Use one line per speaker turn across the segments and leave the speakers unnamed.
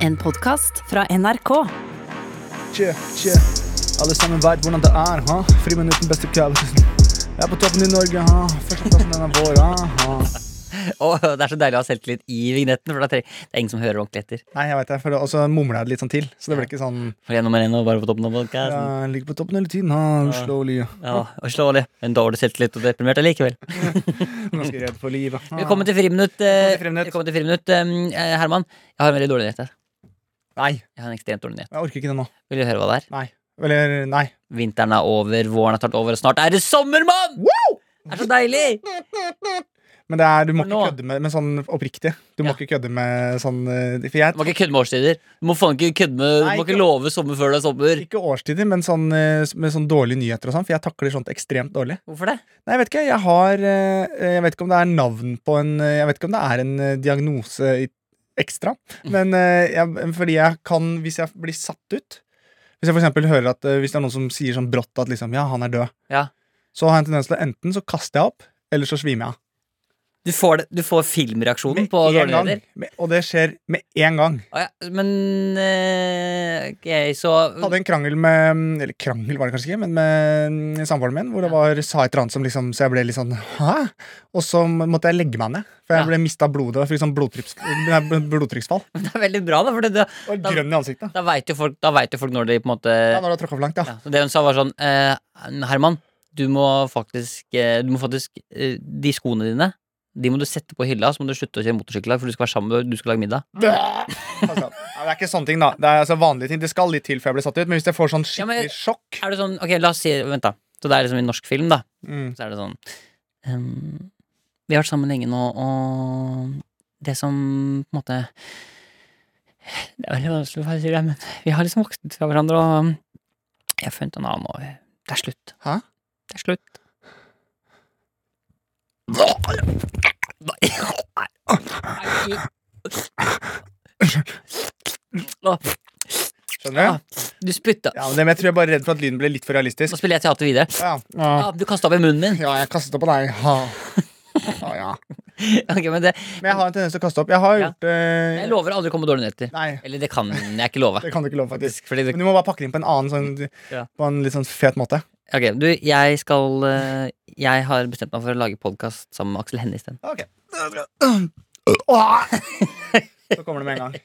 En podkast fra NRK.
Tje, tje. Alle sammen veit hvordan det er, ha? Friminutt den beste campisen. Jeg er på toppen i Norge, ha? Førsteplassen den er vår, ha? ha?
Og det er så deilig å ha selvtillit i vignetten, for da tre- det er ingen som hører ordentlig etter.
Nei, jeg veit det, for det- og så mumler jeg det litt sånn til. Så det blir ikke sånn
For det er nummer én og bare på toppen av podcasten.
Jeg ligger på toppen hele tiden, ha? Slowly.
Ja, og slålig. En dårlig selvtillit og deprimert allikevel.
Ganske redd for livet. ha?
Velkommen til friminutt.
Velkommen
eh,
til friminutt.
Velkommen til friminutt, eh, Herman. Jeg har en veldig dårlig nyhet her.
Nei,
Jeg har en ekstremt dårlig nyhet.
jeg orker ikke det nå.
Vil du høre hva det er?
Nei. Eller nei.
Vinteren er over, våren er tatt over, og snart er det sommer, mann! Det er så deilig!
Men det er, du må ikke
Nå.
kødde med, med sånn oppriktig. Du må
Ja.
ikke kødde med sånn eh, For jeg
Du må ikke kødde med årstider. Du må faen ikke kødde med Du
Nei,
må
ikke-
ikke love sommer før det er sommer.
ikke årstider, men sånn, eh, med sånn dårlige nyheter og sånn, for jeg takler sånt ekstremt dårlig.
Hvorfor det?
Nei, jeg vet ikke. Jeg har eh, Jeg vet ikke om det er navn på en eh, Jeg vet ikke om det er en eh, diagnose i- ekstra.
Mm.
Men eh, jeg, fordi jeg kan Hvis jeg blir satt ut Hvis jeg for eksempel hører at eh, Hvis det er noen som sier sånn brått at liksom Ja, han er død.
Ja.
Så har jeg en tendens til å enten så kaster jeg opp, eller så svimer jeg av.
Du får, det, du får filmreaksjonen på
en
dårlige
gang.
nyheter.
Med, og det skjer med en gang.
Å ja, Men eh, Ok, så
hadde en krangel med Eller krangel var det kanskje ikke, men med samboeren min. Hvor det var sa et eller annet som liksom Så jeg ble litt sånn hæ? Og så måtte jeg legge meg ned. For jeg
Ja.
ble mista blodet. Jeg fikk sånn blodtrykks, nei, blodtrykksfall.
Det er veldig bra, da, for det, da,
Og
Da-
grønn i ansiktet.
da veit jo, folk- da vet jo folk når de på en måte
Ja, når du har tråkka for langt, ja.
ja, så Det hun sa, var sånn eh, Herman, du må faktisk, eh, du må faktisk eh, De skoene dine de må du sette på hylla, så må du slutte å kjøre motorsykkel, i dag, for du skal være sammen med, du skal lage middag.
Altså, ja, det er ikke sånne ting, da. Det er altså vanlige ting. Det skal litt til før jeg blir satt ut, men hvis jeg får sånn
Ja, men-
skikkelig sjokk
Er det sånn, ok, la oss si, vent da Så det er liksom i norsk film, da.
mm.
Så er det sånn ehm, Vi har vært sammen lenge nå, og det som på en måte Det er veldig vanskelig å si det, men vi har liksom vokst fra hverandre, og jeg har funnet en annen, og det er slutt.
Hæ?
Det er slutt.
Skjønner du?
Du spytta.
Ja, men det, men jeg tror jeg er bare redd for at lyden ble litt for realistisk.
Nå spiller jeg teater videre.
Ja, ja.
Ja, du kasta opp i munnen min.
ja jeg kastet opp på deg. Ha. Ja, ja.
Ok, men det,
Men jeg har en tendens til å kaste opp. Jeg har
Ja.
gjort eh,
jeg lover aldri å komme med dårlige nyheter.
Nei,
Eller det kan jeg ikke love.
det kan du ikke love, faktisk.
Fordi det,
Men du må bare pakke det inn på en annen sånn,
Ja.
På en litt sånn fet måte.
ok, du, jeg skal eh, Jeg har bestemt meg for å lage podkast sammen med Aksel Hennie isteden.
Ok Så kommer det med en gang.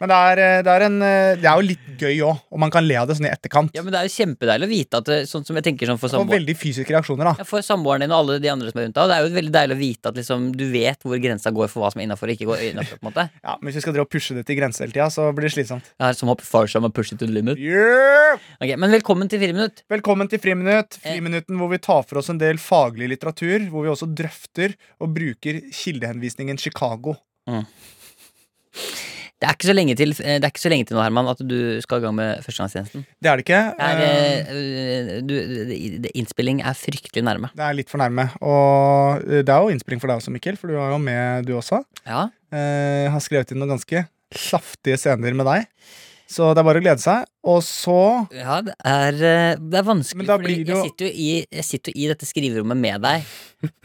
Men det er, eh, det er, en, eh, det er jo litt gøy òg, og man kan le av det sånn i etterkant.
Ja, men det er jo kjempedeilig å vite at det, Sånn som jeg tenker sånn for
Og
samboeren
veldig fysiske reaksjoner, da.
ja, For samboeren din og alle de andre som er rundt deg og Det er jo veldig deilig å vite at liksom Du vet hvor grensa går for hva som er innenfor og ikke går innenfor på en måte
Ja, men hvis vi skal drive og pushe det til grense hele tida, så blir det slitsomt.
Jeg har som hopp far som har pushed it to the limit
Yeah!
Ok, men velkommen til 4 minutt
Velkommen til Friminutt.
Eh.
Friminutten hvor vi tar for oss en del faglig litteratur, hvor vi også drøfter og bruker kildehenvisningen Chicago.
Det er ikke så lenge til eh, Det er ikke så lenge til nå, Herman At du skal i gang med førstegangstjenesten Det
Det er det ikke.
er
eh,
eh, eh, du, det- det- Innspilling er fryktelig nærme
Det er litt for nærme. Og eh, det er jo innspilling for deg også, Mikkel, for du var jo med, du også.
Ja
Eh, har skrevet inn noen ganske saftige scener med deg. Så det er bare å glede seg. Og så
Ja, det er, eh, det er vanskelig,
Men da
fordi
blir det jo-
jeg, sitter jo i, jeg sitter jo i dette skriverommet med deg.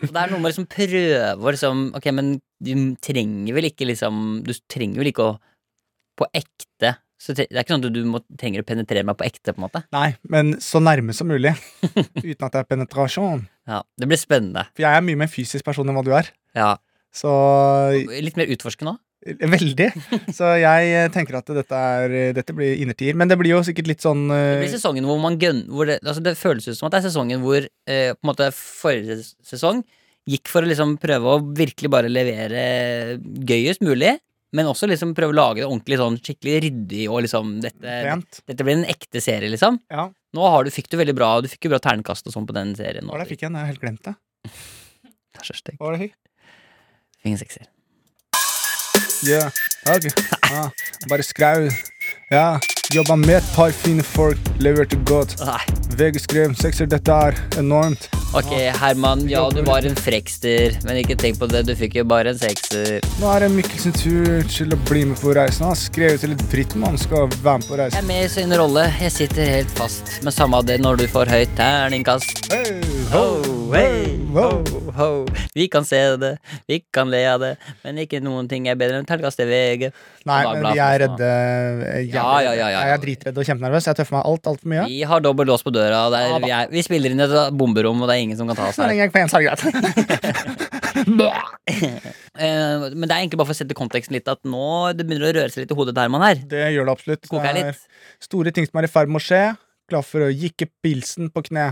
Og det er noe med å liksom prøve å liksom Ok, men du trenger vel ikke liksom Du trenger vel ikke å På ekte så tre- Det er ikke sånn at du må, trenger å penetrere meg på ekte, på en måte.
Nei, men så nærme som mulig. Uten at det er penetrasjon.
Ja, Det blir spennende.
For jeg er mye mer fysisk person enn hva du er.
Ja,
Så eh,
Litt mer utforskende òg.
Veldig. Så jeg eh, tenker at dette, er, dette blir innertier. Men det blir jo sikkert litt sånn
Det
eh,
blir sesongen hvor man gønn... Hvor det, altså det føles ut som at det er sesongen hvor eh, på en måte forrige sesong gikk for å liksom prøve å virkelig bare levere gøyest mulig, men også liksom prøve å lage det ordentlig sånn skikkelig ryddig og liksom dette,
pent.
dette blir en ekte serie, liksom.
Ja.
Nå har du, fikk du veldig bra Du fikk jo bra ternekast og sånn på den serien. nå.
Hva var det jeg fikk igjen? Jeg har helt glemt det.
Det er så stygt.
Hva var det jeg fikk?
Fikk en sekser.
Yeah, ok ah, Bare skrev Ja, jobba med et par fine folk Leverte godt
Nei.
VG skrev, sekser, dette er enormt
Ok, Herman. Ja, du var en frekster, men ikke tenk på det. Du fikk jo bare en sekser.
Nå er det Mikkelsen tur til å bli med på reisen Han skrev til et drittmann skal være med på
Jeg
reisen
er med i sin rolle. Jeg sitter helt fast. Men samme av det når du får høyt terningkast.
hey, ho.
Oh. hey,
wow.
ho, ho. Vi kan se det, vi kan le av det, men ikke noen ting er bedre enn terningkast til VG.
Nei,
Bla,
men
bla,
vi er
bla, bla.
redde. eh,
altså. Ja,
jævlig.
ja, ja, ja, ja.
Jeg er dritredd og kjempenervøs. Jeg tøffer meg alt altfor mye.
Vi har dobbel lås på døra. og Det
Ja
er,
da.
vi, er, vi spiller inn i et bomberom, og det er ingen som kan ta oss
Så
her.
lenge jeg får en, så er det greit.
Eh, men det er egentlig bare for å sette konteksten litt, at nå det begynner å røre seg litt i hodet til Herman her.
Det gjør det absolutt.
Det koker
Det
her
er
litt.
Store ting som er i ferd med å skje. Klar for å jikke pilsen på kne.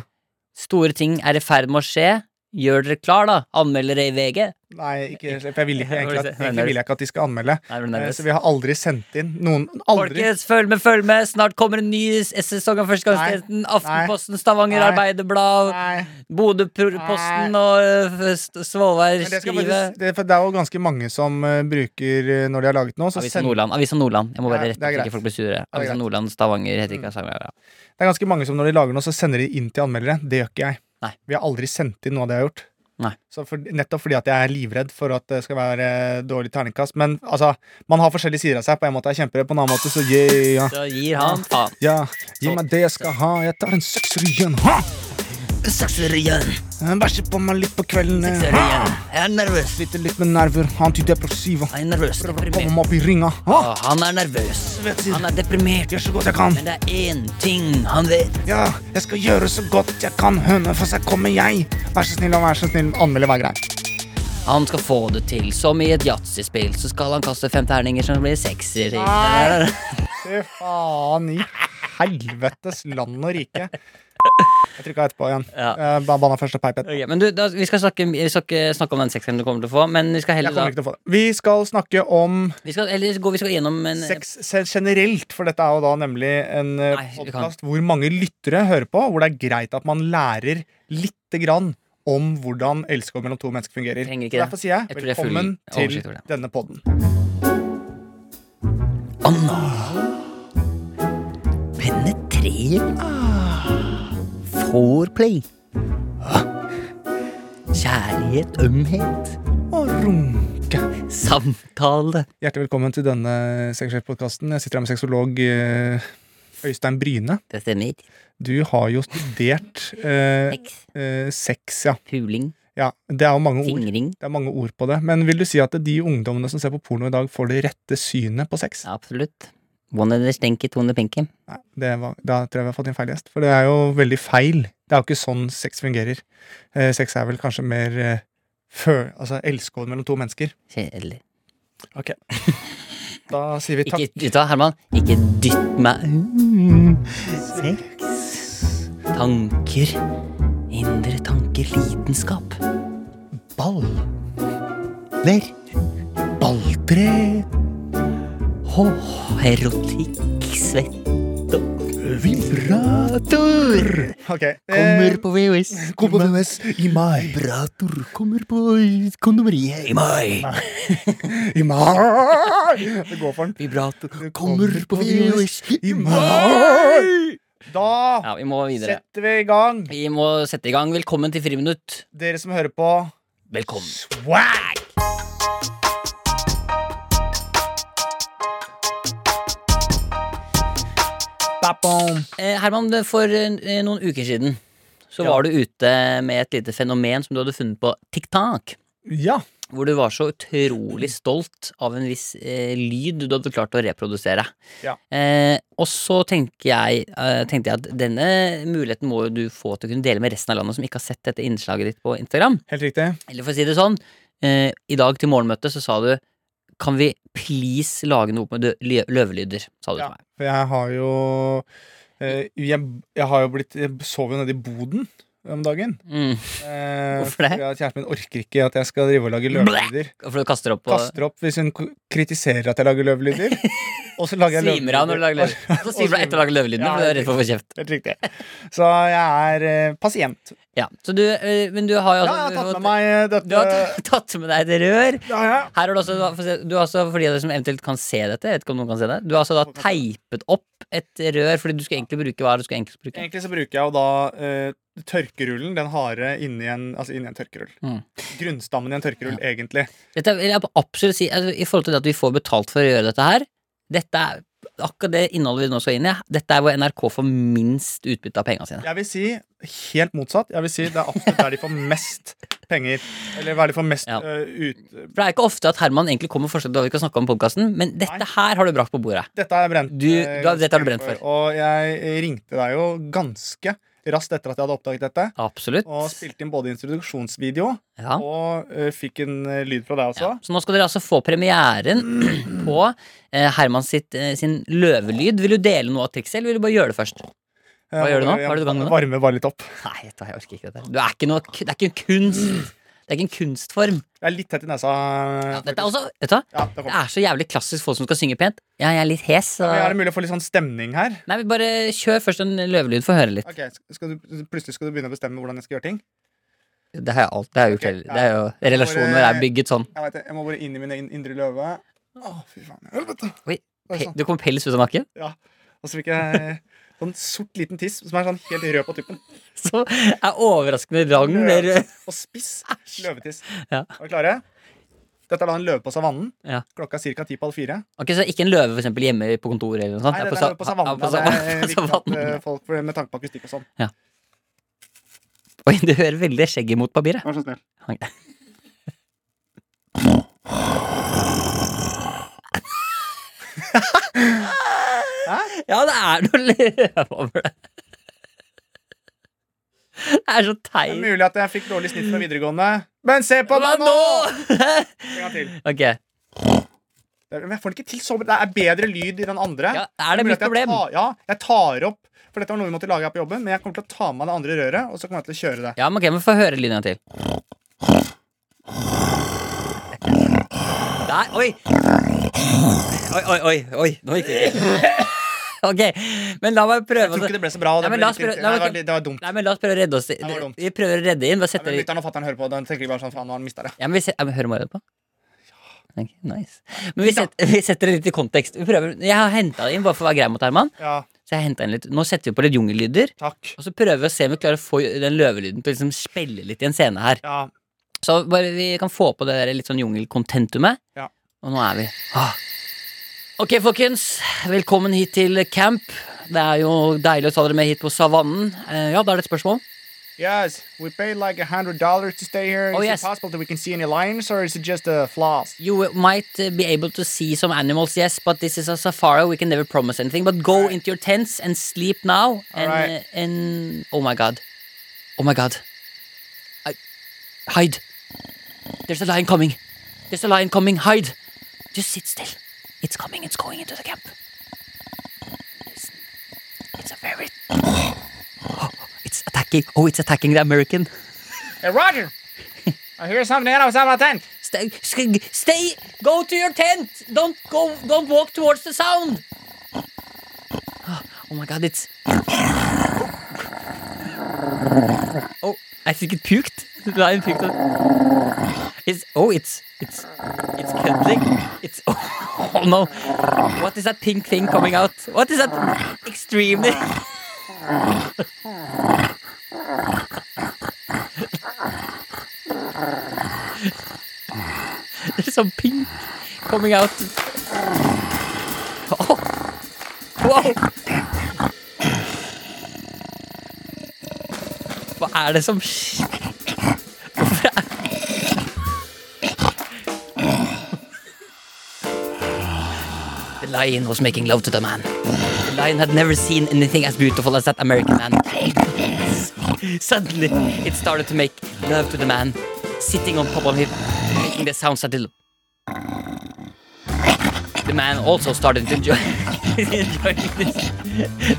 Store ting er i ferd med å skje. Gjør dere klar, da. Anmeld dere i VG.
Nei, ikke, for jeg vil ikke, egentlig, at,
Nei,
egentlig vil jeg ikke at de skal anmelde.
Nei, jeg ble
Eh,
nervøs.
Så vi har aldri sendt inn noen Aldri.
Folkens, følg med, følg med! Snart kommer en ny s- sesong av Førstegangstjenesten. Aftenposten, Stavanger
Nei.
Arbeiderblad,
Nei.
Bodø-posten og øh, f- st- Svolvær
Men det, skal
Skrive.
faktisk, det, for det er jo ganske mange som eh, bruker eh, når de har laget noe. Så
Avisa
send,
Nordland. Avisa Nordland. Jeg må
Ja,
bare rette
det er
så
greit.
ikke folk blir sure. Avisa
greit.
Nordland, Stavanger heter ikke Stavanger. ja.
det er ganske mange som når de lager noe, så sender de inn til anmeldere. Det gjør ikke jeg.
Nei.
Vi har aldri sendt inn noe av det jeg har gjort.
Nei.
Så for, nettopp fordi at jeg er livredd for at det skal være eh, dårlig terningkast. Men altså, man har forskjellige sider av seg. På en måte er jeg kjemperedd, på en annen måte så yeah,
Så gir han faen.
ja. Gi meg det jeg skal ha, jeg tar en sekser igjen. Ha!
Sekser igjen.
Jeg Bæsjer på meg litt på kveldene.
Sekser
Ha!
igjen. Jeg er nervøs.
Sliter litt med nerver. Antidepressiva.
Han er nervøs.
Kommer
Deprimert.
meg opp i ringa. Ha!
Å, Han er nervøs. Han er deprimert.
Gjør så godt jeg kan.
Men det er én ting han vet.
Ja, jeg skal gjøre så godt jeg kan. Høne, for seg kommer jeg. Vær så snill og vær så snill. Anmelde hver grei.
Han skal få det til. Som i et yatzyspill, så skal han kaste fem terninger som blir sekser.
Nei. Fy faen i helvetes land og rike. Jeg trykka etterpå igjen.
Ja.
Eh, ba- Banna først og peip etterpå.
Ok, men du, da, vi, skal snakke, vi skal ikke snakke om den sekseren du kommer til å få, men vi skal
Jeg
heller
kommer
da,
ikke til å få det. Vi skal snakke om
vi skal, eller, gå, vi skal gjennom en
sex se- generelt, for dette er jo da nemlig en
Nei, vi kan-
podkast hvor mange lyttere hører på, hvor det er greit at man lærer lite grann om hvordan elskov mellom to mennesker fungerer.
Trenger ikke
Så Derfor sier jeg
Jeg tror jeg er full
velkommen til
oversikt over det.
denne podden.
Anal. Penetrering. Foreplay. Kjærlighet. Ømhet.
Og runke.
Samtale.
Hjertelig velkommen til denne sexsjef-podkasten. Jeg sitter her med sexolog eh, Øystein Bryne.
Det stemmer.
Du har jo studert eh,
Sex.
eh, sex, ja.
Puling.
ja. Det er jo mange ord.
Fingring.
Det er mange ord på det. Men vil du si at de ungdommene som ser på porno i dag, får det rette synet på sex?
Absolutt. One of the stenky, two of the pinky.
Nei, det var, da tror jeg vi har fått en feil gjest. For det er jo veldig feil. Det er jo ikke sånn sex fungerer. Eh, sex er vel kanskje mer eh, før, altså elskov mellom to mennesker.
Kjedelig.
Da sier vi takk.
Ikke, vet du hva, Herman, ikke dytt meg Mm. Sex Tanker Indre tanker Lidenskap
Ball.
Ler
Balltre.
Åh, erotikk Svett
Vibrator
Ok. eh,
kommer på VHS.
Kommer på VHS i mai.
Vibrator kommer på kondomeriet.
I meg
Eh, I mai! Det går for den.
Vibrator
Kommer på VHS.
I mai! Da
Ja, vi må videre
setter vi i gang.
Vi må sette i gang Velkommen til friminutt
Dere som hører på,
Velkommen
swag! Ba-bom.
eh, Herman, det- for eh, noen uker siden Så
Ja.
var du ute med et lite fenomen Som du hadde funnet på TikTok
Ja.
hvor du var så utrolig stolt av en viss eh, lyd du hadde klart å reprodusere.
Ja.
Eh, og så tenker jeg, eh, tenkte jeg at denne muligheten må jo du få til å kunne dele med resten av landet som ikke har sett dette innslaget ditt på Instagram.
Helt riktig.
Eller for å si det sånn, eh, i dag til morgenmøtet så sa du kan vi please lage noe med lø- løvelyder, sa du
Ja,
til meg.
for jeg har jo eh, jeg, jeg har jo blitt Jeg sov jo nede i boden om dagen.
Mm.
Eh,
Hvorfor det?
fordi at Kjæresten min orker ikke at jeg skal drive og lage løvelyder.
For du kaster opp og
Kaster opp hvis hun k- kritiserer at jeg lager løvelyder. Og så lager jeg
svimer av når du lager løv. Så svimer du av etter å lage løvelydene,
Ja,
for du er redd for å få kjeft.
Helt riktig. Så jeg er eh, pasient.
Ja, så du, eh, men Altså, du har jo
Ja,
altså-
jeg har tatt med meg eh, dette.
Du har tatt- tatt med deg et rør.
Det har jeg.
Her er det også, da- få se, du har også, for de av dere som eventuelt kan se dette, jeg vet ikke om noen kan se det, du har altså da teipet opp et rør, fordi du skal egentlig bruke hva er det du skal egentlig bruke?
Egentlig så bruker jeg jo da eh, tørkerullen, den harde, inni en, altså inni en tørkerull.
Mm.
Grunnstammen i en tørkerull, egentlig.
Dette vil jeg absolutt si, altså, i forhold til det at vi får betalt for å gjøre dette her, dette er akkurat det innholdet vi nå skal inn i, dette er hvor NRK får minst utbytte av pengene sine.
Jeg vil si helt motsatt. Jeg vil si Det er absolutt der de får mest penger. Eller hva er det for mest
Ja.
øh, ut...
For det er ikke ofte at Herman egentlig kommer med forslag til hva vi kan snakke om i podkasten, men dette
Nei.
her har du brakt på bordet.
Dette har jeg brent.
Du-
øh,
du har- dette har du
ganske
brent for.
Og jeg ringte deg jo ganske raskt etter at jeg hadde oppdaget dette.
Absolutt.
Og spilte inn både introduksjonsvideo
Ja.
og øh, fikk en øh, lyd fra deg også.
Ja. Så nå skal dere altså få premieren på eh, Herman sitt, eh, sin løvelyd. Vil du dele noe av trikset, eller vil du bare gjøre det først? Hva gjør du nå?
Eh, Jeg
Hva er det du kan nå?
Varme bare litt opp.
Nei, vet du hva, jeg orker ikke dette. her. Du er ikke noe, det er ikke en kunst. Det er ikke en kunstform.
Jeg er litt tett i nesa.
Ja, dette er også, vet du hva?
Ja, det
Det
kommer.
er så jævlig klassisk folk som skal synge pent. Ja, jeg er litt hes. Så...
Men er det mulig å få litt sånn stemning her?
Nei, vi bare kjør først en løvelyd for å høre litt.
Ok, skal du, Plutselig skal du begynne å bestemme hvordan jeg skal gjøre ting?
Det har jeg alt. Det har jeg gjort
Ok,
hele-
ja.
Det er jo, relasjonen vår er bygget sånn.
Jeg vet det, jeg må bare inn i min egen indre løve. Å, fy faen. Helvete.
Oi,
Det er
Pe-
sånn.
Du kom pels ut av nakken.
Og så fikk jeg sånn sort liten tiss som er sånn helt rød på tuppen.
Så er overraskende lang. Mer...
Og spiss løvetiss.
Ja.
Er vi klare? Dette er da en løve på savannen.
Ja.
Klokka er ca. ti på halv fire.
Ok, Så ikke en løve for eksempel, hjemme på kontoret? eller noe sånt
Nei,
Ja,
dette
sa-
er løve på savannen.
Ja, på
da. Det er
savann-
viktig at
savannen.
eh, folk får- med tanke på akustikk og sånn.
Oi, du hører veldig skjegget mot papiret.
Vær så snill.
Ok. Ja, det er noe løve over det. Det er så
Det er
teit.
mulig at jeg fikk dårlig snitt fra videregående, men se på
Hva
meg nå! En gang til.
Ok,
Det er- Men jeg får det ikke til så bra. Det er bedre lyd i den andre.
ja, Er det
mulig
mitt
at jeg
problem?
tar- ja, jeg tar opp For dette var noe vi måtte lage her på jobben, men jeg kommer til å ta med det andre røret, og så kommer jeg til å kjøre det.
Ja, men ok, men Få høre lyden en gang til. Der. Oi! Oi, oi, oi. oi. Nå gikk det. Ok, men la meg
Jeg
prøve.
tror
å-
ikke det ble så bra. og
Nei,
Det,
men
ble
la oss
litt
prøve-
irriterende. Nei,
la
det,
oss-
var, litt- det var dumt.
Nei, men La oss prøve å redde oss.
var dumt.
Vi prøver å redde inn. Bare
Ja,
setter
men Lytteren og fatteren hører på. Den tenker de bare sånn Faen, nå har han mista det.
Ja, men vi se, ja, men hører Mario på? Ok, nice. Men vi, set, vi setter det litt i kontekst. Vi prøver, jeg har henta det inn bare for å være grei mot Herman.
Ja,
Så jeg har hentet inn litt. Nå setter vi på litt jungellyder.
takk.
Og så prøver vi å se om vi klarer å få den løvelyden til å liksom spille litt i en scene her.
Ja,
Så bare vi kan få på det der litt sånn jungelkontentumet.
Ja.
Og nå er vi ah. Ok, folkens. Velkommen hit til camp. Det er jo deilig å ta dere med hit på savannen. Eh, ja, da er det et spørsmål.
Yes, we paid like a hundred dollars to stay here. Is
Oh, yes.
it possible that we can see any lions, or is it just a floss?
You might uh, be able to see some animals, yes, but this is a safari. We can never promise anything. But go into your tents and sleep now. And,
Alright.
uh, and oh my god, oh my god, I, hide! There's a lion coming. There's a lion coming. Hide! Just sit still. It's coming. It's going into the camp. Listen. It's a very. Oh, it's attacking. Oh, it's attacking the American.
Hey, Roger! I hear something outside my tent.
Stay, sk- stay, go to your tent. Don't go, don't walk towards the sound. Oh my god, it's Oh, I think it puked. The lion puked. It's oh, it's it's it's cuddling. It's oh, no. What is that pink thing coming out? What is that extremely? There's some pink coming out. Oh. Wow. Hva er det som skj- Hvorfor er The lion was making love to the man. The lion had never seen anything as beautiful as that American man. Suddenly, it started to make love to the man, sitting on top of him, making the sounds that it. The man also started to enjoy, enjoying this.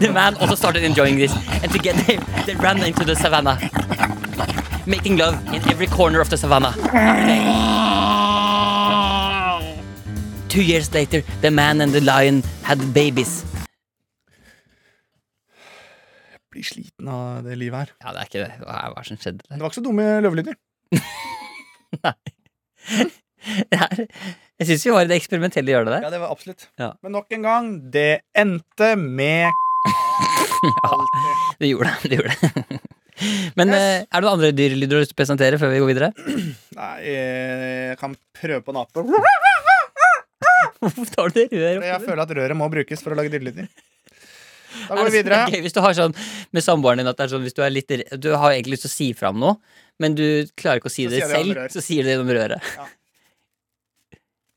The man also started enjoying this, and together they, they ran into the savannah, making love in every corner of the savannah. Two years later, the man and the lion had babies.
Jeg blir sliten av det livet her.
Ja, det er ikke det. Hva er det som skjedde
Det var ikke så dumme løvelyder.
der? Jeg syns vi var i det eksperimentelle hjørnet der.
Ja, det var absolutt.
Ja.
Men nok en gang, det endte med Alltid.
Det gjorde det. det, gjorde det. Men
Yes.
eh, er det noen andre dyrelyder du har lyst til å presentere før vi går videre?
Nei, eh, jeg kan prøve på en ape.
Hvorfor tar du det røret
Jeg
oppi?
føler at røret må brukes for å lage dyrelyder. Da
Er
går
det
vi
sånn- det
videre.
er gøy hvis du har sånn med samboeren din at det er sånn hvis du er litt re- Du har egentlig lyst til å si fram noe, men du klarer ikke å si
Så
det
sier du gjennom
selv,
rør.
så sier du det gjennom røret.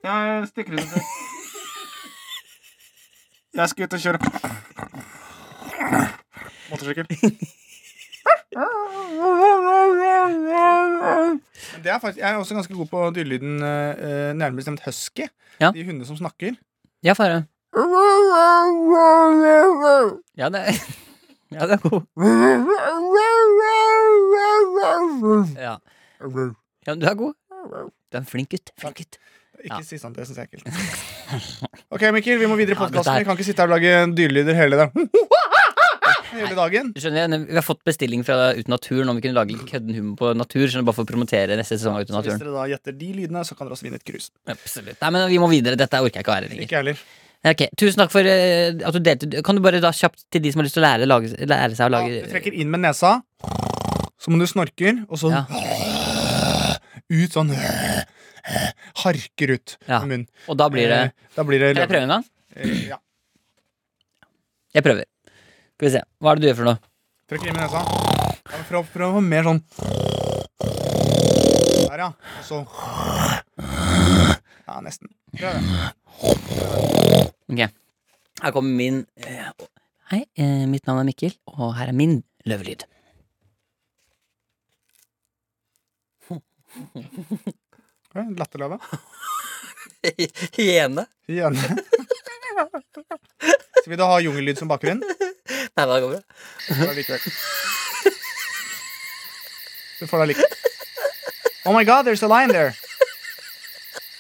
Jeg stikker ut. Jeg skal ut og kjøre
Motorsykkel. Men Det er faktisk, jeg er også ganske god på dyrelyden, eh, eh, nærmere bestemt husky.
Ja.
De hundene som snakker.
Ja, fare. Ja, det er Ja, det er god. Ja. ja, men du er god. Du er en flink gutt. Flink gutt.
Ikke
Ja.
si sånn, det syns jeg er ekkelt. Ok, Mikkel, vi må videre i
Ja, dette
podkasten.
her-
Vi kan ikke sitte her og lage dyrelyder hele dagen. Hele dagen.
Du skjønner, jeg, Vi har fått bestilling fra Uten naturen om vi kunne lage litt kødden humor på natur. Skjønner, bare for å promotere neste sesong av Uten
Så hvis
naturen.
dere da gjetter de lydene, så kan dere også vinne et krus.
Absolutt. Nei, men vi må videre. Dette orker jeg ikke å være lenger.
Ikke jeg heller.
Ok, Tusen takk for eh, at du delte. Kan du bare da kjapt til de som har lyst til å lære, lage, lære seg å
Ja,
lage
du trekker inn med nesa, så må du snorker, og så
Ja.
ut sånn Harker ut
Ja.
med munnen.
Og da blir det
Eh, Da blir det
Kan jeg prøve en gang?
Eh, Ja.
Jeg prøver. Skal vi se. Hva er det du gjør for noe?
Trykker inn med nesa. Ja, men prøv, prøv å få mer sånn Der, ja. Og så Ja, nesten. Prøv det.
Ok. Her kommer min eh, Hei, eh, mitt navn er Mikkel, og her er min løvelyd.
Ja, Latterløve.
Hyene?
Igjen. Så vil du ha jungellyd som bakgrunn?
Nei, da går det.
Du får deg likevel. Du får deg likevel. Oh my god, there's a lion there.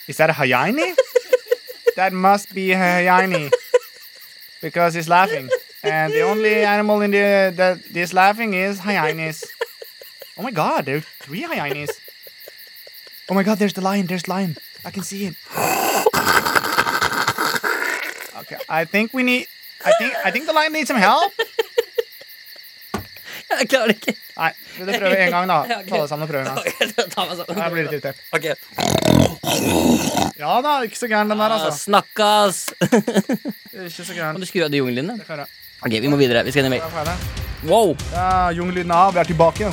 Is that a hyena? That must be a hyena. Because he's laughing. And the only animal in the that is laughing is hyenas. Oh my god, there are three hyenas. Oh my god, there's the lion, there's lion. I can see him. Okay, I think we need I think I think the lion needs some help.
Jeg klarer det ikke.
Nei, vil du prøve en gang, da?
Ja, ok.
Ta det sammen og prøve en gang.
Ok, jeg skal ta meg sammen.
Jeg blir litt irritert.
Ok.
Ja da, ikke så gæren den der,
Ah,
altså.
snakkas!
Ikke så
Kan
gæren.
altså. du skru av de jungelene?
Hør, da.
Ok, vi må videre. Vi skal inn i
Der
mail.
får jeg det.
Wow!
Ja, Jungelyden er av, vi er tilbake.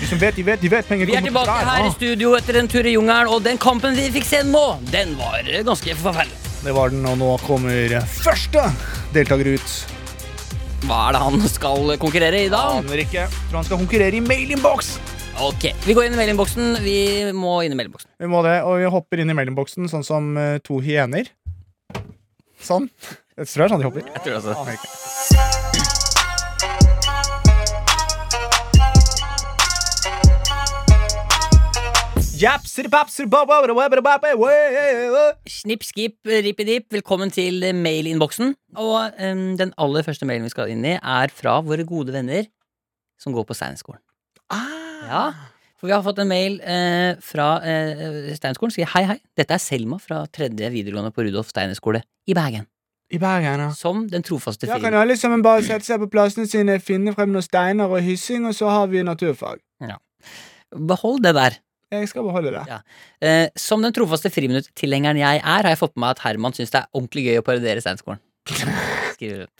De som vet, de vet, de vet. Penger
Vi er
kommer
tilbake
fra
her i
der.
studio etter en tur i jungelen, og den kampen vi fikk se nå, den var eh, ganske forferdelig.
Det var den, og nå kommer første deltaker ut.
Hva er det han skal konkurrere i dag?
Aner ikke. Tror han skal konkurrere i mailinnboks.
Ok, Vi går inn i mailinnboksen. Vi må inn i mailinnboksen.
Vi må det, og vi hopper inn i mailinnboksen sånn som eh, to hyener. Sånn. Jeg tror det er sånn de hopper. Jeg tror det også. Japser, papser, ba, ba, ba, ba, ba, ba, ba, wa, wa, wa.
Snipp, skip, rippedipp, velkommen til eh, mailinnboksen. Og em, den aller første mailen vi skal inn i, er fra våre gode venner som går på Steinerskolen.
Ah.
Ja, for vi har fått en mail eh, fra eh, Steinerskolen. Sier hei, hei. Dette er Selma fra tredje videregående på Rudolf Steiner skole i Bergen.
I Bergen, ja.
Som den trofaste
Da
film.
kan alle sammen bare sette seg på plassene sine, finne frem noen steiner og hyssing, og så har vi naturfag.
Behold det der.
Jeg skal beholde det.
Eh, som den trofaste friminuttilhengeren jeg er, har jeg fått med meg at Herman syns det er ordentlig gøy å parodiere Steinskolen. Skriver hun.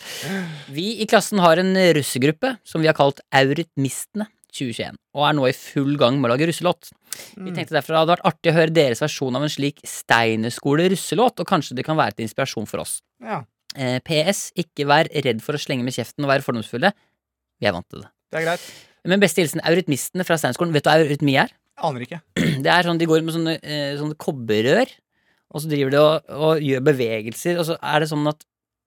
Vi i klassen har en russegruppe som vi har kalt Eurytmistene 2021, og er nå i full gang med å lage russelåt. Vi
Mm.
tenkte derfor det hadde vært artig å høre deres versjon av en slik Steinerskole-russelåt, og kanskje det kan være til inspirasjon for oss.
Mm, Ja,
Eh, PS, ikke vær redd for å slenge med kjeften og være fordomsfulle. Vi er vant til det.
det er greit.
Men beste hilsen Eurytmistene fra Steinskolen. Vet du hva eurytmi er?
Aner ikke.
Det er sånn de går med sånne, eh, sånne kobberrør, og så driver de og, og gjør bevegelser, og så er det sånn at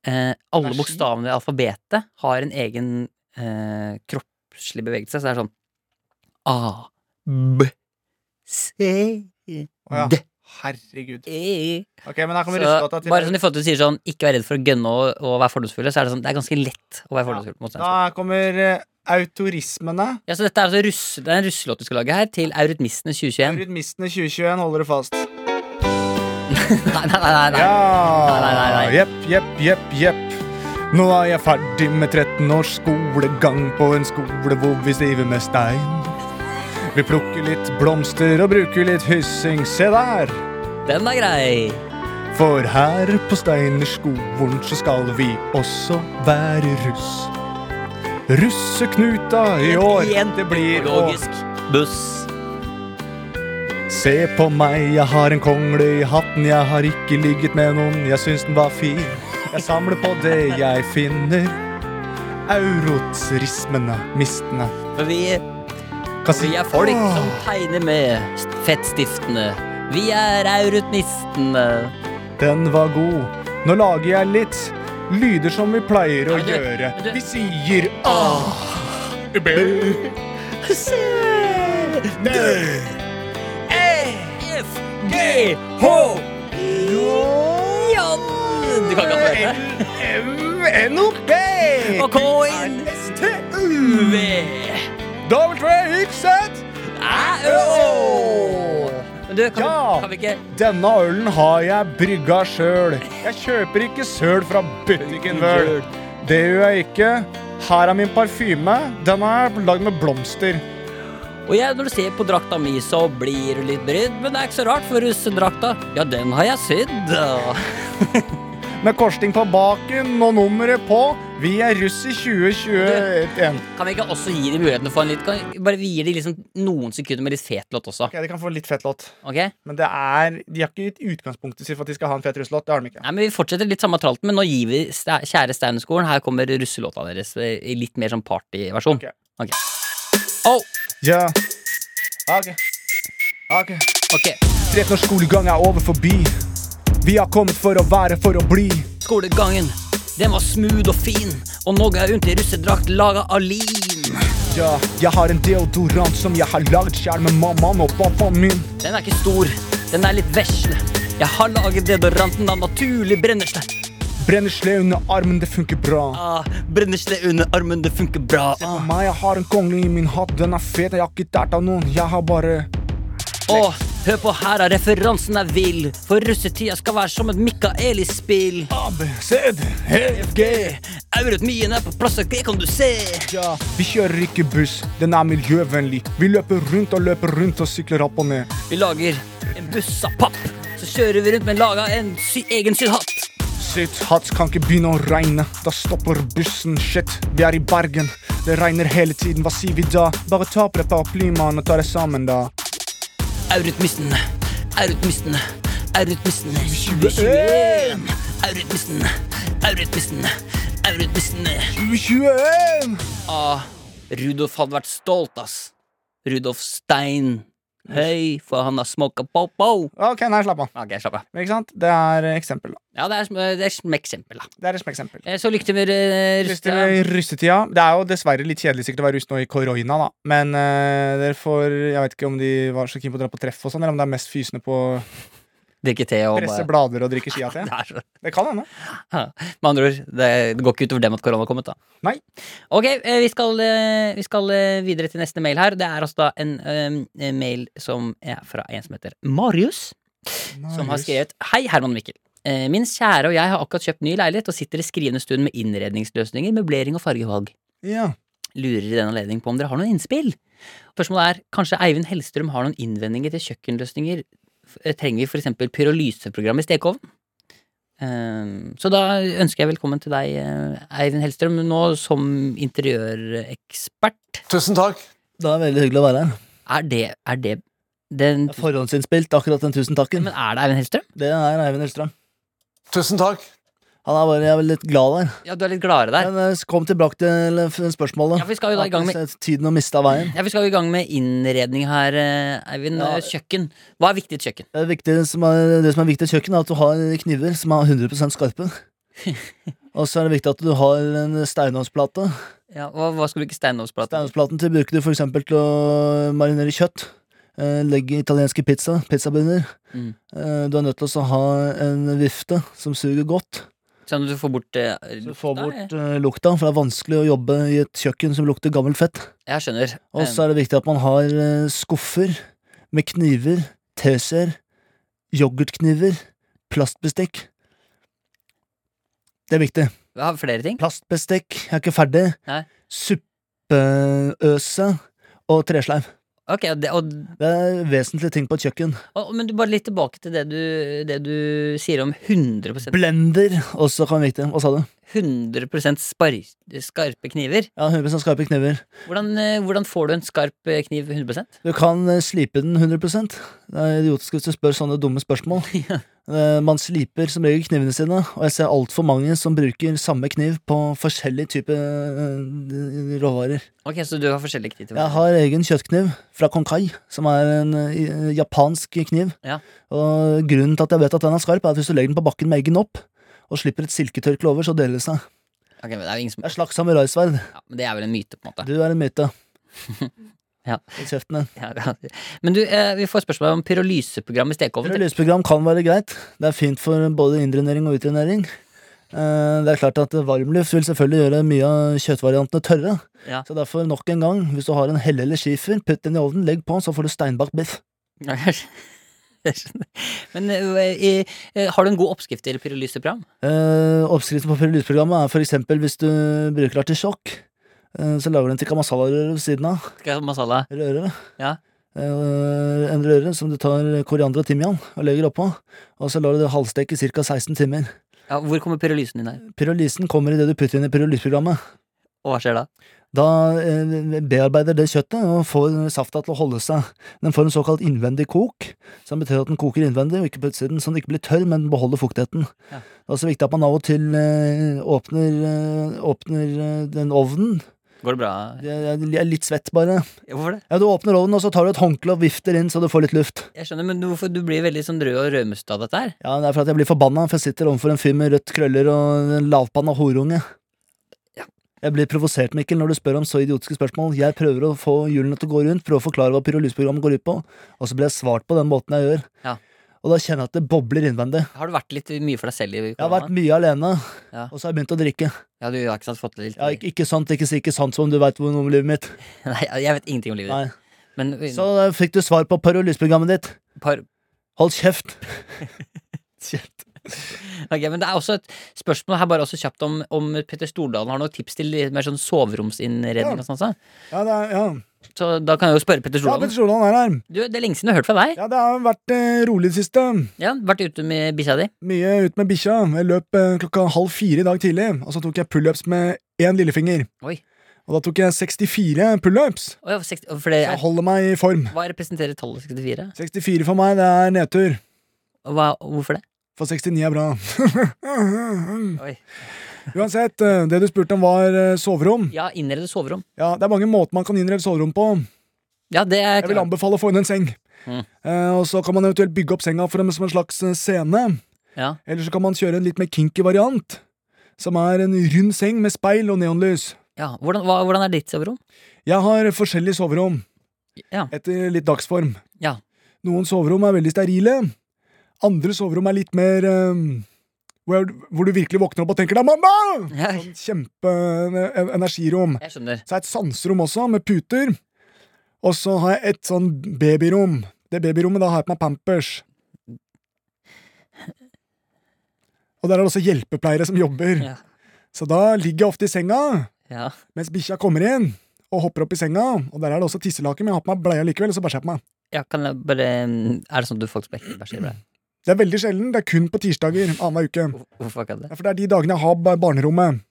eh, alle
Energi?
bokstavene i alfabetet har en egen eh, kroppslig bevegelse, så det er sånn A, B, C,
Å, ja.
D,
Herregud.
E
Ok, men her
så,
kommer russelåta til
Bare sånn i forhold til du sier sånn ikke vær redd for å gønne og, og være fordomsfulle, så er det sånn det er ganske lett å være
Ja.
fordomsfull mot
Da
svensker.
kommer eh, autorismene.
Ja, så dette er altså russe, det er en russelåt du skal lage her, til Eurytmistene 2021.
Rytmistene 2021 holder det fast.
Nei, nei, nei, nei. nei. Nei, nei,
Ja!
nei, nei.
Jepp, jepp, jepp, jepp. Nå er jeg ferdig med 13 års skolegang på en skole hvor vi driver med stein. Vi plukker litt blomster og bruker litt hyssing. Se der!
Den er grei.
For her på Steinerskolen så skal vi også være russ. Russeknuta i år, det blir å
Logisk. Buss.
se på meg. Jeg har en kongle i hatten, jeg har ikke ligget med noen. Jeg syns den var fin. Jeg samler på det jeg finner. Eurotisrismene, mistene,
For vi,
kasi...
vi er folk som
Åh,
tegner med fettstiftene. Vi er aurutnistene.
Den var god. Nå lager jeg litt lyder som vi pleier å
Ja, du-
gjøre.
du-
Vi sier ah, b, d.
Jan! Du kan ikke ha det.
L-M-N-O-P
Og K-I-N.
S-T-U Y-Z
Men du, kan,
Ja.
vi, kan vi ikke
Denne ølen har jeg brygga sjøl. Jeg kjøper ikke søl fra butikken vøl. Det gjør jeg ikke. Her er min parfyme. Den er lagd med blomster.
Og jeg, når du ser på drakta mi, så blir du litt brydd, men det er ikke så rart, for russedrakta, ja, den har jeg sydd.
Med korsting på baken og nummeret på. Vi er russ i 2021.
Kan vi ikke også gi dem muligheten til å få en litt kan, Bare vi gir dem liksom noen sekunder med litt fet låt også.
Ok, De kan få litt fett låt.
Ok? Nei,
Men det er, de har ikke gitt utgangspunktet sitt for at de skal ha en fet russelåt. Det har de ikke.
men Vi fortsetter litt samme tralten, men nå gir vi sta- Kjære Steinerskolen. Her kommer russelåta deres eh, i litt mer sånn partyversjon.
Ok.
Ok. Oh,
Ja. Ok. Ok.
ok.
13 års skolegang er over forbi. Vi har kommet for å være, for å bli.
Skolegangen, den var smooth og fin, og nå går jeg rundt i russedrakt laga av lin.
Ja, jeg har en deodorant som jeg har lagd sjæl med mammaen og pappaen min.
Den er ikke stor, den er litt vesle. Jeg har laget deodoranten av naturlig brennesle.
Brennesle under armen, det funker bra.
Ah, brennesle under armen, det funker bra.
Se på
Ah.
meg, jeg har en kongle i min hatt, den er fet, jeg har ikke tært av noen. Jeg har bare
Og hør på her, da, referansen er vill. For russetida skal være som et Mikaeli-spill.
ABCD, EFG.
Eurytmien er på plass, og det kan du se.
Ja, vi kjører ikke buss, den er miljøvennlig. Vi løper rundt og løper rundt og sykler opp og ned.
Vi lager en buss av papp. Så kjører vi rundt med laga en sy egen sydd hatt.
Sitt hatt kan ikke begynne å regne. Da stopper bussen. Shit, vi er i Bergen. Det regner hele tiden, hva sier vi da? Bare ta på deg paraplymannen og ta deg sammen, da.
Eurytmisten, eurytmisten, eurytmisten
2021.
Eurytmisten, eurytmisten, eurytmisten
2021!
Ah, Rudolf hadde vært stolt, ass. Rudolf Stein. Høy, for han har smoka popo.
Ok, nei, slapp av.
Ok, slapp av.
Men Ikke sant? Det er eh, eksempel, da.
Ja, det er, sm- det er sm- eksempel, da.
Det er et eksempel.
Eh, Så lykke til med eh,
Lyst til
russetida.
Russetida. Det er jo dessverre litt kjedelig sikkert å være russ nå i korona, da. Men eh, dere får Jeg vet ikke om de var så keen på å dra på treff og sånn, eller om det er mest fysende på å
Drikke te og
presse
bare
blader og drikke skia til.
Det er så-
Det kan hende.
Med andre ord, det, det går ikke utover dem at korona har kommet, da.
Nei.
Ok, eh, vi skal, eh, vi skal eh, videre til neste mail her. Det er altså da en eh, mail som er fra en som heter Marius, som har skrevet Hei, Herman og Mikkel. Eh, Min kjære og jeg har akkurat kjøpt ny leilighet og sitter i skrivende stund med innredningsløsninger, møblering og fargevalg.
Ja.
Lurer i den anledning på om dere har noen innspill. Spørsmålet er, kanskje Eivind Hellstrøm har noen innvendinger til kjøkkenløsninger? F- eh, Trenger vi for eksempel pyrolyseprogram i stekeovnen? Ehm, Så da ønsker jeg velkommen til deg, eh, Eivind Hellstrøm, nå som interiørekspert.
Tusen takk. Det er veldig hyggelig å være her.
Er det, er det den,
Jeg har Forhåndsinnspilt akkurat den tusen takken.
Men er det Eivind Hellstrøm?
Det er Eivind Hellstrøm. Tusen takk. Han er bare, jeg er litt glad der.
Ja, du er litt gladere der.
Men eh, kom tilbake til eh, f- spørsmålet.
Ja, vi skal jo da i gang med
At eh, Tiden har mista veien.
ja, vi skal jo i gang med innredning her, eh, Eivind.
Ja.
Eh, Kjøkken. Hva er viktig i et kjøkken?
Det, er viktig, som er, det som er viktig i kjøkken, er at du har kniver som er 100 skarpe. Og så er det viktig at du har en steinovnsplate.
Ja, hva, hva skal du bruke steinovnsplate til?
Steinovnsplaten til bruker du for eksempel til å marinere kjøtt. eh, Legge italienske pizza, pizzabunner.
Mm.
Eh, Du er nødt til å ha en vifte som suger godt.
Sånn at du får bort eh,
Du
lukta,
får
eh?
bort eh, lukta, for det er vanskelig å jobbe i et kjøkken som lukter gammelt fett.
Jeg skjønner.
Og så er det viktig at man har eh, skuffer med kniver, teskjeer, yoghurtkniver, plastbestikk. Det er viktig.
Vi har flere ting.
Plastbestikk, jeg er ikke ferdig.
Nei.
Suppeøse og tresleiv.
Ok, og det, og,
Det er vesentlige ting på et kjøkken.
og, Men du bare litt tilbake til det du, det du sier om 100
Blender også kan være viktig. Hva sa du?
100 spar, skarpe kniver.
Ja, 100 skarpe kniver.
Hvordan, eh, hvordan får du en skarp eh, kniv 100
Du kan eh, slipe den 100 Det er idiotisk hvis du spør sånne dumme spørsmål. Eh, Man sliper som regel knivene sine, og jeg ser altfor mange som bruker samme kniv på forskjellige typer eh, råvarer.
Ok, Så du har forskjellig kniv? til
Jeg
meg.
har egen kjøttkniv fra Konkai, som er en eh, japansk kniv.
Ja.
Og grunnen til at jeg vet at den er skarp, er at hvis du legger den på bakken med eggen opp, og slipper et silketørkle over, så deler det seg.
Ok, men det er jo ingen som
Det er slags samuraisverd.
ja, Men det er vel en myte, på en måte.
Du er en myte.
Ja.
I kjeften din.
Ja, ja. Men du, eh, vi får spørsmål om pyrolyseprogram i stekeovnen.
Lysprogram kan være greit. Det er fint for både indrenering og utrenering. Eh, Det er klart at varmluft vil selvfølgelig gjøre mye av kjøttvariantene tørre.
Ja.
Så derfor, nok en gang, hvis du har en helle eller skifer, putt den i ovnen, legg på, så får du steinbakt biff.
Ja, jeg skjønner. Jeg skjønner. Men eh, i- eh, har du en god oppskrift til pyrolyseprogram?
Eh, oppskriften på lysprogrammet er for eksempel hvis du bruker artisjokk, eh, så lager du en tikka masala-røre ved siden av.
Skal jeg ha masala?
Røre.
Ja.
Eh, en røre som du tar koriander og timian og legger oppå, og så lar du det halvsteke i ca. 16 timer.
Ja, hvor kommer pyrolysen din her?
Pyrolysen kommer i det du putter inn i pyrolyseprogrammet.
Og hva skjer da?
Da eh, bearbeider det kjøttet og får safta til å holde seg. Den får en såkalt innvendig kok, som betyr at den koker innvendig og ikke på utsiden, så den ikke blir tørr, men den beholder fuktigheten.
Ja.
Det er også viktig at man av og til eh, åpner, eh, åpner eh, den ovnen.
Går det bra?
Jeg jeg er litt svett, bare.
Ja, Hvorfor det?
Ja, Du åpner ovnen, og så tar du et håndkle og vifter inn så du får litt luft.
Jeg skjønner, men hvorfor du blir veldig sånn rød og rødmust av dette her?
Ja, Det er for at jeg blir forbanna, for jeg sitter overfor en fyr med rødt krøller og en lavpanna horunge. Jeg blir provosert, Mikkel, når du spør om så idiotiske spørsmål. Jeg prøver å få hjulene til å gå rundt, prøve å forklare hva pyrolyseprogrammet går ut på, og så blir jeg svart på den måten jeg gjør.
Ja.
Og da kjenner jeg at det bobler innvendig.
Har du vært litt mye for deg selv i
Jeg har vært
korona?
mye alene,
Ja.
og så har jeg begynt å drikke.
Ja, du har ikke sant fått litt
Ja, ikke, ikke sant, ikke si ikke sant som om du veit noe om livet mitt.
Nei, jeg vet ingenting om livet
Nei.
ditt. Men
Så eh, fikk du svar på pyrolyseprogrammet ditt.
par,
Hold kjeft.
Ok, men det er også et spørsmål her bare også kjapt om, om Petter Stordalen har noen tips til litt mer sånn soveromsinnredning. og sånn, så.
Ja, det er, ja.
så da kan jeg jo spørre Petter
ja
Stordalen.
Petter Stordalen er her.
Du, det er lenge siden jeg har hørt fra deg.
Ja, det har vært eh, rolig i det siste.
Ja, Vært ute med bikkja di.
Mye ut med bikkja. Jeg løp eh, klokka halv fire i dag tidlig, og så tok jeg pullups med én lillefinger.
Oi.
Og da tok jeg 64 pullups.
Å ja, 60, for det
Så jeg
er,
holder meg i form.
hva representerer tallet 64?
64 for meg, det er nedtur.
Og Hva, hvorfor det?
For 69 er bra.
Mm.
Oi.
Uansett, eh, det du spurte om var eh, soverom.
Ja, innrede soverom.
Ja, Det er mange måter man kan innrede soverom på.
Ja, det er
Jeg vil
klart.
anbefale å få inn en seng.
Mm.
Eh, og så kan man eventuelt bygge opp senga for dem som en slags eh, scene.
Ja.
Eller så kan man kjøre en litt mer kinky variant. Som er en rund seng med speil og neonlys.
Ja. Hvordan, hva, hvordan er ditt soverom?
Jeg har forskjellige soverom,
Ja.
etter litt dagsform.
Ja.
Noen soverom er veldig sterile. Andre soverom er litt mer eh, hvor, hvor du virkelig våkner opp og tenker deg 'mamma!' eh,
ja.
Kjempeenergirom.
Jeg skjønner.
Så er det et sanserom også, med puter. Og så har jeg et sånn babyrom. Det babyrommet, da har jeg på meg pampers. Og der er det også hjelpepleiere som jobber.
Ja.
Så da ligger jeg ofte i senga,
Ja.
mens bikkja kommer inn og hopper opp i senga. Og der er det også tisselaken, men jeg har på meg bleia likevel, og så bæsjer jeg på meg.
ja, kan jeg bare Er det sånn at du faktisk ikke bæsjer i deg?
Det er veldig sjelden. Det er kun på tirsdager annenhver uke.
Hvor- Hvorfor kan det?
Ja, for det er de dagene jeg har bar- barnerommet.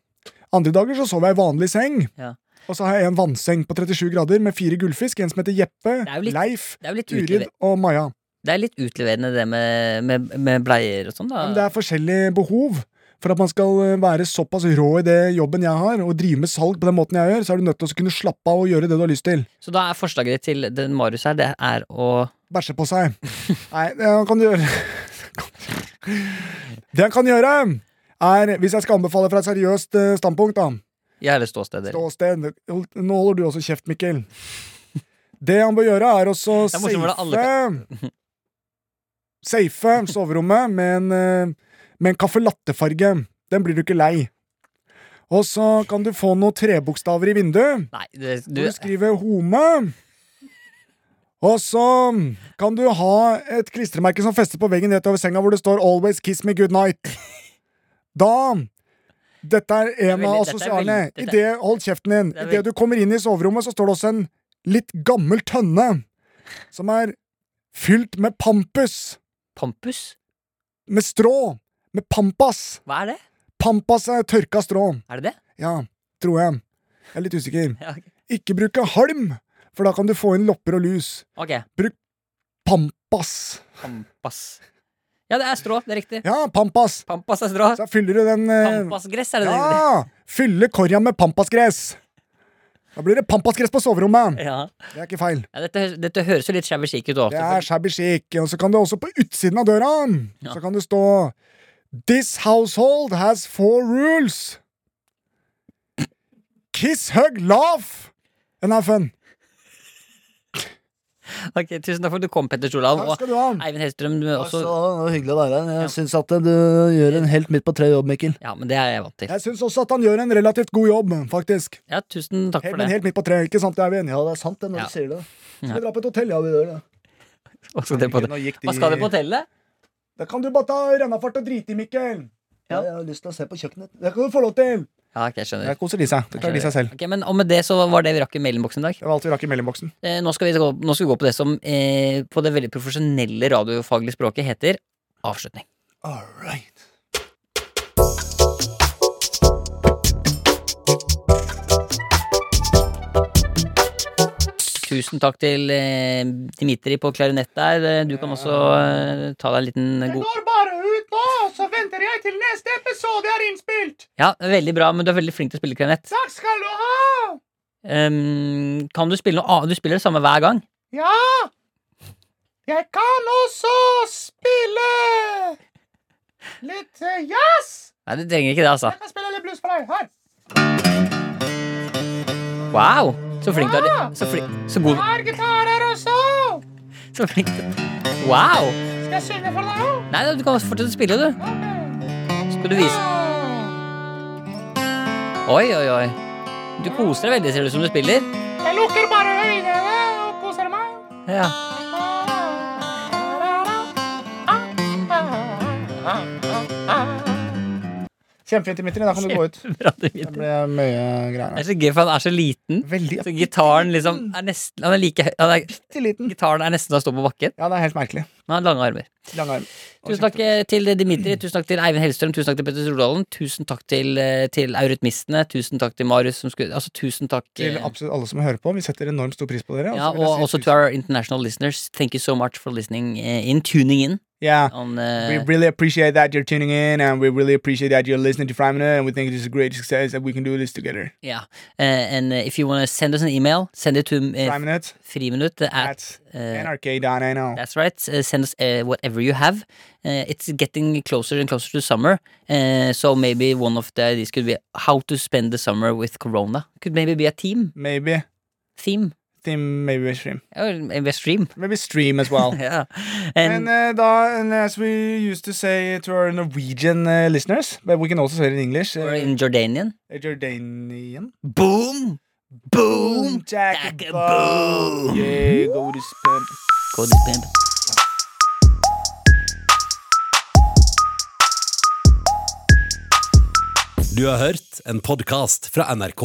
Andre dager så sover jeg i vanlig seng.
Ja.
Og så har jeg en vannseng på 37 grader med fire gullfisk, en som heter Jeppe,
Det er jo litt-
Leif,
Det er jo litt, utlever,
Turid og Maja.
det er litt utleverende, det med, med, med bleier og sånn, da.
Men det er forskjellige behov. For at man skal eh, være såpass rå i det jobben jeg har, og drive med salg på den måten jeg gjør, så er du nødt til å kunne slappe av og gjøre det du har lyst til.
Så da er forslaget ditt til den Marius her, det er å
Bæsje på seg. Nei, det han kan gjøre Det han kan gjøre, er Hvis jeg skal anbefale fra et seriøst eh, standpunkt, da
gjøre ståsteder.
Ståsted. Hold- Nå holder du også kjeft, Mikkel. Det han bør gjøre, er også
Det er morsomt hvordan alle
safe Safe soverommet med en, eh, med en caffè latte-farge. Den blir du ikke lei. Og så kan du få noen trebokstaver i vinduet.
Nei, det, du,
Du, du skriver home. Og så kan du ha et klistremerke som fester på veggen rett over senga, hvor det står 'Always kiss me good night'. Da Dette er en
veldig-
av
dette er
assosialene.
veldig- dette-
Idet Hold kjeften din.
Det er
Idet du kommer inn i soverommet, så står det også en litt gammel tønne som er fylt med pampus,
Pampus?
med strå, med pampas.
Hva er det?
Pampas er tørka strå.
Er det det?
Ja, tror jeg. Jeg er litt usikker.
Ja, ok.
Ikke bruke halm, for da kan du få inn lopper og lus.
ok.
Pampas.
Pampas. Ja, det er strå. Det er riktig.
Ja, pampas.
Pampas er strå.
Så fyller du den eh,
Pampasgress er det det heter.
Ja! Fylle korja med pampasgress. Da blir det pampasgress på soverommet.
Ja.
Det er ikke feil.
Ja, dette, hø- dette høres jo litt shabby chic ut. også,
Det
for-
er shabby chic. Og så kan det også på utsiden av døra
Ja.
Så kan det stå This household has four rules. Kiss, hug, laugh and have fun.
Ok, Tusen takk for at du kom, Petter Stordalen.
Takk
Og
skal du ha.
Eivind Hellstrøm, du er
Så
også
hyggelig å være her.
Ja.
Jeg syns at du gjør en helt midt på tre jobb, Mikkel.
Ja, men det er jeg vant til.
Jeg syns også at han gjør en relativt god jobb, faktisk.
Ja, tusen takk
Helt,
for
men
det.
helt midt på treet, ikke sant, Eivind?
Ja, det er sant det når
Ja.
du sier det. Skal
Ja.
vi dra på et hotell? Ja, vi gjør det.
Og så det på det.
Nå gikk de-
Hva skal dere på hotellet?
Da kan du bare ta rennafart og drite i, Mikkel.
Ja.
Jeg har lyst til å se på kjøkkenet.
Det kan du få lov til.
Ja, ok, jeg skjønner.
Jeg koser de seg. Det
Jeg
klarer de
skjønner.
seg selv.
Ok, men Og med det så var det vi rakk i mailinnboksen i dag.
Det var alt vi rakk i mellomboksen.
Eh, nå, skal vi gå, nå skal vi gå på det som eh, på det veldig profesjonelle radiofaglige språket heter avslutning.
All right.
Tusen takk til eh, Dimitri på klarinett der. Eh, Du kan også eh, ta deg en liten god
går bare ut nå, så venter jeg til neste episode er innspilt.
Ja, veldig bra, men du er veldig flink til å spille klarinett.
Takk skal du ha.
Ehm, kan du spille noe annet? Du spiller det samme hver gang.
Ja, jeg kan også spille litt eh, jazz.
Nei, du trenger ikke det, altså.
Jeg kan spille litt blues for deg. Her.
Wow! Så flink du er. Så, flink, så god
Her er gitarer også.
Så flink du Wow!
Skal jeg synge for deg òg?
Nei, du kan fortsette å spille, du. Så skal du vise Oi, oi, oi. Du koser deg veldig, ser det ut som du spiller.
Jeg lukker bare øynene og koser meg.
Ja.
Kjempefint, Dimitri. Da kan du gå ut.
Bra,
Det
Dimitri.
ble mye greier.
Det
her.
er så gøy, for han er så liten.
Veldig
Så gitaren liksom er nesten Han er like høy han er,
bitte liten.
Gitaren er nesten til å stå på bakken,
Ja, det er helt merkelig.
men han har lange armer.
Lang arm. Og
Tusen takk eh, til Dimitri, tusen takk til Eivind Hellstrøm, tusen takk til Petter Stordalen, tusen takk til, eh, til Eurytmistene, tusen takk til Marius som skulle Altså, tusen takk
Til
eh,
absolutt alle som hører på. Vi setter enormt stor pris på dere.
ja,
så vil jeg
og
si
også
tusen-
to our international listeners. Thank you so much for listening eh, in, tuning in.
Yeah.
On,
We
eh,
really appreciate that you're tuning in, and we really appreciate that you're listening to Prime Minute, and we think this is a great success, and we can do this together.
yeah. Eh, and eh, if you want to send us an email, send it to
Prime
uh,
Minute
friminutt eh, at
at
eh,
nrk.no.
That's right. Uh, send us uh, whatever you have. Uh, it's getting closer and closer to summer, uh, so maybe one of the ideas could be how to spend the summer with Corona. Could maybe be a team
Maybe.
theme
Theme, maybe we stream.
or maybe a stream.
Maybe stream as well.
yeah,
And
and
uh, da, and as we used to say to our Norwegian uh, listeners, but we can also say it in English.
or
Uh,
in Jordanian.
Jordanian.
Boom, boom.
Jack
Jack
and
boom.
boom. Yeah, go to spam.
Go to bed.
Du har hørt en podkast fra NRK.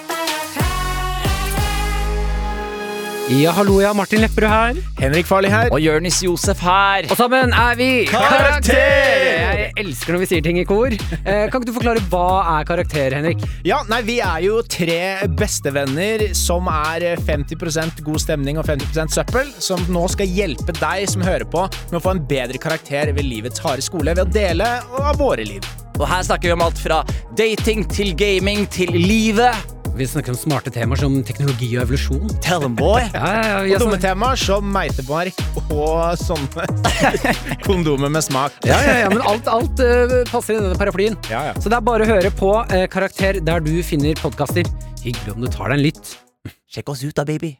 Ja, hallo, ja. Martin Lepperød her.
Henrik Farli her.
Og Jørnis Josef her. Og sammen er vi Jeg elsker når vi sier ting i kor. Eh, kan ikke du forklare hva er karakter, Henrik?
Ja, nei, Vi er jo tre bestevenner som er 50 god stemning og 50 søppel, som nå skal hjelpe deg som hører på, med å få en bedre karakter ved livets harde skole ved å dele av våre liv.
Og her snakker vi om alt fra dating til gaming til livet.
Vi snakker om smarte temaer som teknologi og evolusjon.
Tell them, boy.
Ja,
Og
sånn-
dumme temaer som meitemark og sånne kondomer med smak.
Ja, ja, ja, men alt, alt eh, passer i denne paraplyen.
Ja, ja.
Så det er bare å høre på eh, Karakter der du finner podkaster. Hyggelig om du tar deg en lytt.
Sjekk oss ut da, baby.